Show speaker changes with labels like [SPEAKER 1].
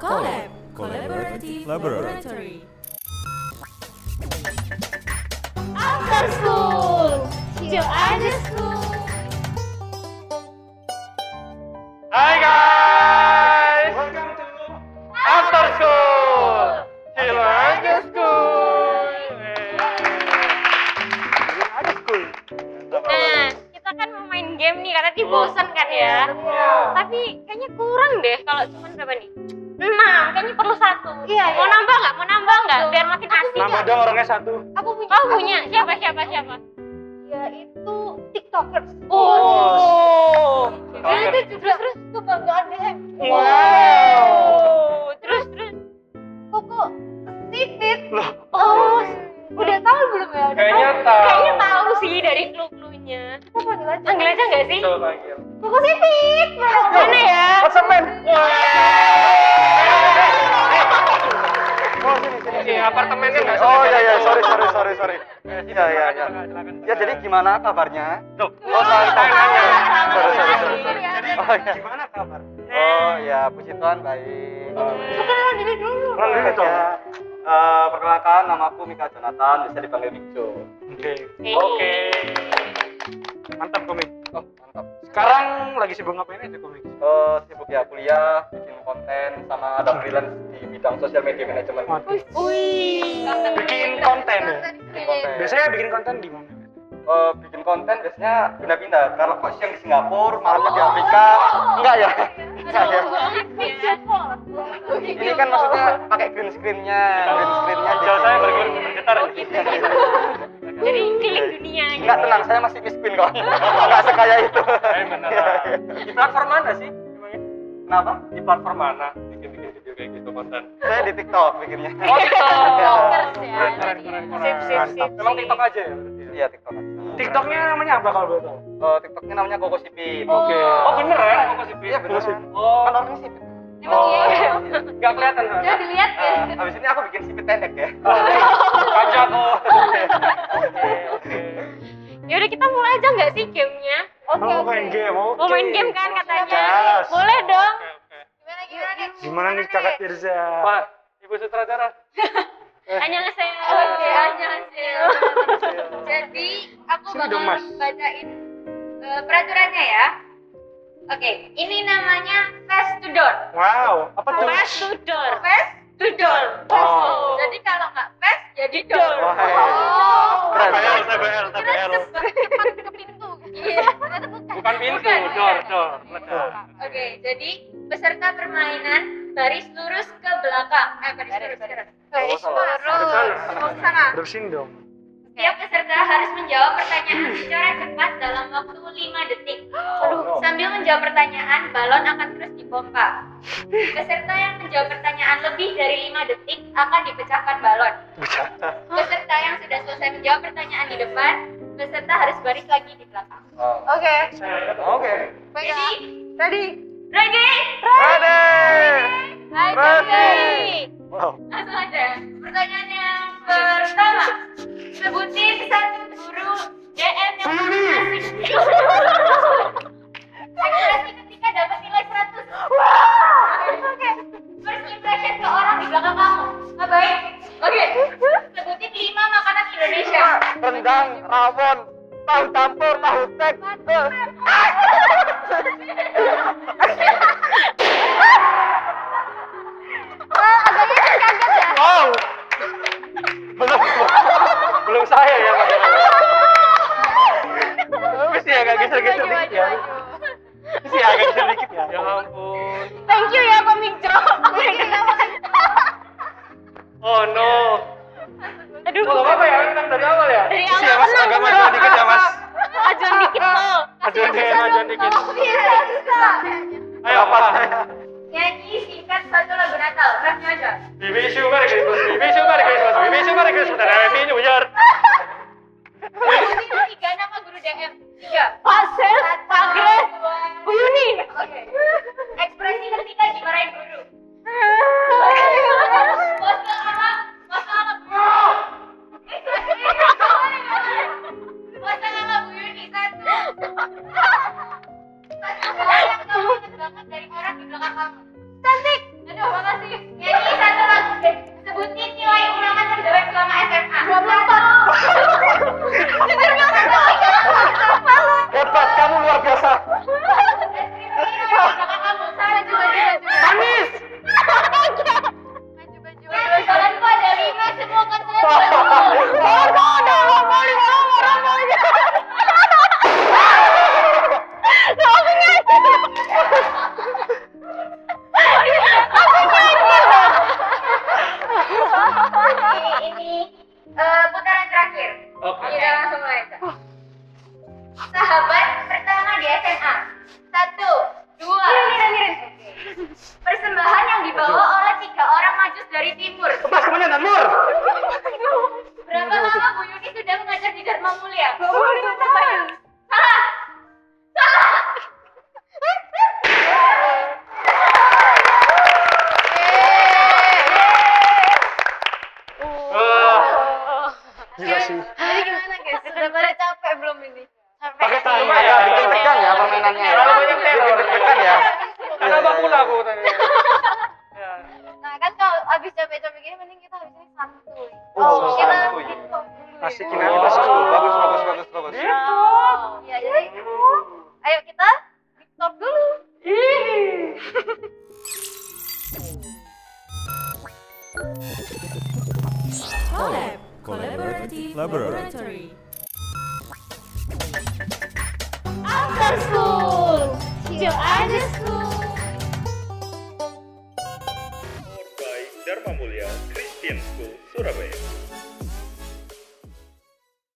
[SPEAKER 1] Collab Collaborative Laboratory
[SPEAKER 2] After School Chill After School
[SPEAKER 3] Hai guys, welcome to After School, Chill Aja School. Chill Aja School. Iya.
[SPEAKER 4] Nah, kita kan mau main game nih karena dibosan kan ya. Tapi kayaknya kurang deh kalau cuma berapa nih? 6, kayaknya perlu satu.
[SPEAKER 2] Iya,
[SPEAKER 4] Mau
[SPEAKER 2] iya.
[SPEAKER 4] nambah nggak? Mau nambah nggak?
[SPEAKER 2] Betul.
[SPEAKER 4] Biar makin asik.
[SPEAKER 3] Nama dong orangnya satu.
[SPEAKER 2] Aku punya
[SPEAKER 4] Kau
[SPEAKER 2] aku
[SPEAKER 4] punya siapa siapa siapa?
[SPEAKER 2] Yaitu TikTokers
[SPEAKER 4] Oh.
[SPEAKER 3] Oke.
[SPEAKER 2] Dan itu juga terus kebanggaan DM
[SPEAKER 3] Wow.
[SPEAKER 4] Terus terus.
[SPEAKER 2] Koko Titit
[SPEAKER 3] Loh,
[SPEAKER 2] Oh Udah tahu belum ya? Udah
[SPEAKER 3] Kayaknya tahu.
[SPEAKER 4] Kayaknya tahu sih dari clue-cluenya.
[SPEAKER 2] Kita panggil aja
[SPEAKER 4] Panggil aja nggak sih?
[SPEAKER 3] coba panggil.
[SPEAKER 2] Koko Titit
[SPEAKER 4] Mana ya?
[SPEAKER 3] What's up, man? Oh, sini, sini, sini. apartemennya nggak
[SPEAKER 5] Oh
[SPEAKER 3] ya
[SPEAKER 5] ya ya, sorry sorry sorry sorry.
[SPEAKER 3] Iya,
[SPEAKER 5] Ya ya ya. Ya jadi gimana kabarnya? Oh, sorry, sorry, sorry, sorry, sorry, sorry.
[SPEAKER 3] Jadi
[SPEAKER 5] Oh, iya.
[SPEAKER 3] gimana kabar?
[SPEAKER 5] Oh ya, puji Tuhan baik.
[SPEAKER 2] Kenalan diri dulu
[SPEAKER 3] Kenalan diri dong.
[SPEAKER 5] Ya. Eh, perkenalkan namaku Mika Jonathan, bisa dipanggil Mikjo.
[SPEAKER 3] Oke.
[SPEAKER 4] Hey.
[SPEAKER 3] Oke. Mantap komik.
[SPEAKER 5] Oh, mantap.
[SPEAKER 3] Sekarang lagi sibuk ngapain aja komik?
[SPEAKER 5] Eh, sibuk ya kuliah, bikin konten sama ada freelance di bidang sosial media manajemen.
[SPEAKER 3] Waduh.
[SPEAKER 2] Wih
[SPEAKER 3] Bikin konten ya.
[SPEAKER 5] Bikin konten.
[SPEAKER 3] Biasanya bikin konten di mana?
[SPEAKER 5] Eh, bikin konten biasanya pindah-pindah. Kalau kok siang di Singapura, malamnya di Afrika. Enggak ya? Enggak ya.
[SPEAKER 2] Video call
[SPEAKER 5] Ini kan maksudnya pakai green screen-nya, green screen-nya. di
[SPEAKER 3] Jauh saya
[SPEAKER 5] sini.
[SPEAKER 3] bergerak bergetar.
[SPEAKER 4] Oh gitu. gitu. Jadi keliling dunia gitu.
[SPEAKER 5] Enggak tenang, saya masih Miss Queen kok. Enggak sekaya itu. Iya,
[SPEAKER 3] Eh, beneran. Di platform mana sih? emangnya?
[SPEAKER 5] Kenapa?
[SPEAKER 3] Di platform mana? Bikin-bikin video kayak gitu konten.
[SPEAKER 5] Saya di TikTok bikinnya.
[SPEAKER 3] Oh, TikTok.
[SPEAKER 2] Tiktokers ya
[SPEAKER 3] Keren, keren, keren,
[SPEAKER 4] Sip, sip,
[SPEAKER 3] keren.
[SPEAKER 4] sip,
[SPEAKER 3] Memang
[SPEAKER 4] sip.
[SPEAKER 3] TikTok aja ya? berarti ya?
[SPEAKER 5] Iya, TikTok.
[SPEAKER 3] TikToknya namanya apa kalau boleh tahu?
[SPEAKER 5] Eh, TikToknya namanya Koko Sipit.
[SPEAKER 2] Oh.
[SPEAKER 3] Oke. Oh beneran? Kok masih
[SPEAKER 5] Iya, beneran.
[SPEAKER 3] Oh,
[SPEAKER 5] Kan orangnya sipit.
[SPEAKER 2] Emang iya ya?
[SPEAKER 3] nggak kelihatan kan?
[SPEAKER 2] Udah dilihat ya?
[SPEAKER 5] Eh, habis ini aku bikin sipit pendek ya.
[SPEAKER 3] Oh. Pajak oh. Oke, oke.
[SPEAKER 4] Ya udah kita mulai aja nggak sih gamenya?
[SPEAKER 2] Oke
[SPEAKER 3] Mau
[SPEAKER 2] oke
[SPEAKER 3] main game, oke.
[SPEAKER 4] Mau main game kan katanya?
[SPEAKER 3] Yes.
[SPEAKER 4] Boleh dong.
[SPEAKER 3] Oke, oke.
[SPEAKER 2] Gimana gimana nih?
[SPEAKER 3] Gimana nih kakak Tirza? Pak, ibu sutradara.
[SPEAKER 4] Annyeonghaseyo.
[SPEAKER 2] Oke, annyeonghaseyo. Jadi aku
[SPEAKER 3] Sini dong, Mas.
[SPEAKER 2] bakal bacain eh, peraturannya ya. Oke, ini namanya face to door.
[SPEAKER 3] Wow, apa tuh?
[SPEAKER 4] Fast to door.
[SPEAKER 2] Face
[SPEAKER 4] To door.
[SPEAKER 3] Oh.
[SPEAKER 2] Jadi kalau nggak face jadi door.
[SPEAKER 4] Door.
[SPEAKER 5] Wah,
[SPEAKER 2] Oh.
[SPEAKER 5] Keren.
[SPEAKER 3] TBL,
[SPEAKER 2] Terus
[SPEAKER 3] TBL, TBL.
[SPEAKER 2] ke, cepat ke pintu. Iya, ternyata bukan.
[SPEAKER 3] Bukan pintu,
[SPEAKER 2] Bukan,
[SPEAKER 4] iya.
[SPEAKER 3] door,
[SPEAKER 2] bukan.
[SPEAKER 3] door. Ledak.
[SPEAKER 2] Oke, jadi peserta permainan baris lurus ke belakang. Eh, baris lurus ke
[SPEAKER 5] Baris lurus.
[SPEAKER 2] Ke sana.
[SPEAKER 3] Bersindong.
[SPEAKER 2] Setiap peserta harus menjawab pertanyaan secara cepat dalam waktu 5 detik.
[SPEAKER 5] no.
[SPEAKER 2] Sambil menjawab pertanyaan, balon akan terus dipompa. Peserta yang menjawab pertanyaan lebih dari 5 detik akan dipecahkan balon. Peserta yang sudah selesai menjawab pertanyaan di depan, peserta harus baris lagi di belakang.
[SPEAKER 5] Oh.
[SPEAKER 2] Oke,
[SPEAKER 5] Oke.
[SPEAKER 2] jadi ready. Ready?
[SPEAKER 5] Ready.
[SPEAKER 3] Wow.
[SPEAKER 2] Langsung aja. Pertanyaan yang pertama. Sebutin satu huruf DM yang paling asik. Akurasi ketika dapat nilai 100. Oke. First impression ke orang di belakang kamu. Nggak baik. Oke. Sebutin 5 makanan Indonesia.
[SPEAKER 5] Rendang, rawon, tahu campur, tahu tek. Eh,
[SPEAKER 2] ya?
[SPEAKER 3] Wow. Belum belum saya ya padahal. Terus ya agak geser-geser dikit ya. Terus ya agak geser dikit ya. Ya ampun.
[SPEAKER 4] Thank you ya Komik Jo.
[SPEAKER 3] Oh no.
[SPEAKER 4] Aduh.
[SPEAKER 3] Kok apa ya? Menang dari awal ya?
[SPEAKER 4] Dari
[SPEAKER 3] Terus
[SPEAKER 4] awal
[SPEAKER 3] ya Mas
[SPEAKER 4] menang,
[SPEAKER 3] agak
[SPEAKER 4] menang.
[SPEAKER 3] maju dikit ya Mas.
[SPEAKER 4] Ajuan dikit lo.
[SPEAKER 3] Ajuan dikit, ajuan dikit.
[SPEAKER 2] Oh, iya,
[SPEAKER 3] Ayo apa?
[SPEAKER 2] Nyanyi singkat satu lagu Natal. Rapnya aja.
[SPEAKER 3] Bibi Shu Merry Christmas, Bibi Shu Merry Christmas, Bibi Shu Merry Christmas, dan Happy New Year.
[SPEAKER 2] Sebutin tiga nama guru DM. Tiga.
[SPEAKER 4] Pak Sel, Pak Gres, Bu
[SPEAKER 2] Oke.
[SPEAKER 4] Yuni.
[SPEAKER 2] Ekspresi ketika dimarahin guru. Foto anak, foto anak guru. Foto anak Bu Yuni satu. Satu hal yang kamu ingat banget dari orang di belakang kamu.
[SPEAKER 6] Persembahan yang dibawa oleh tiga orang majus dari timur.
[SPEAKER 3] Mas kemudian dan Nur.
[SPEAKER 6] Berapa lama Bu Yuni sudah mengajar di Dharma Mulia?
[SPEAKER 3] Eh, Gila sih.
[SPEAKER 2] Jadi gimana guys? Sudah pada capek kan? Iya. belum ini?
[SPEAKER 5] Pakai tangan
[SPEAKER 3] Ya, bikin tegang ya permainannya. ya.
[SPEAKER 5] Kalau banyak teror.
[SPEAKER 3] Bikin tegang ya.
[SPEAKER 5] Karena
[SPEAKER 3] Iya,
[SPEAKER 5] bang
[SPEAKER 3] iya,
[SPEAKER 5] pula
[SPEAKER 3] iya.
[SPEAKER 5] aku tadi. Ya.
[SPEAKER 2] Nah kan kalau abis capek-capek gini mending kita habis ini santuy.
[SPEAKER 3] Oh,
[SPEAKER 2] kita
[SPEAKER 3] santuy. Oh.
[SPEAKER 2] tiktok dulu ya.
[SPEAKER 3] Asik ini asik. Bagus bagus bagus bagus.
[SPEAKER 2] Iya jadi
[SPEAKER 3] Hmm.
[SPEAKER 2] ayo kita tiktok dulu.
[SPEAKER 1] Collab Collaborative Laboratory.
[SPEAKER 2] After school, chill aja school.
[SPEAKER 7] by Dharma Mulia Christian School, Surabaya.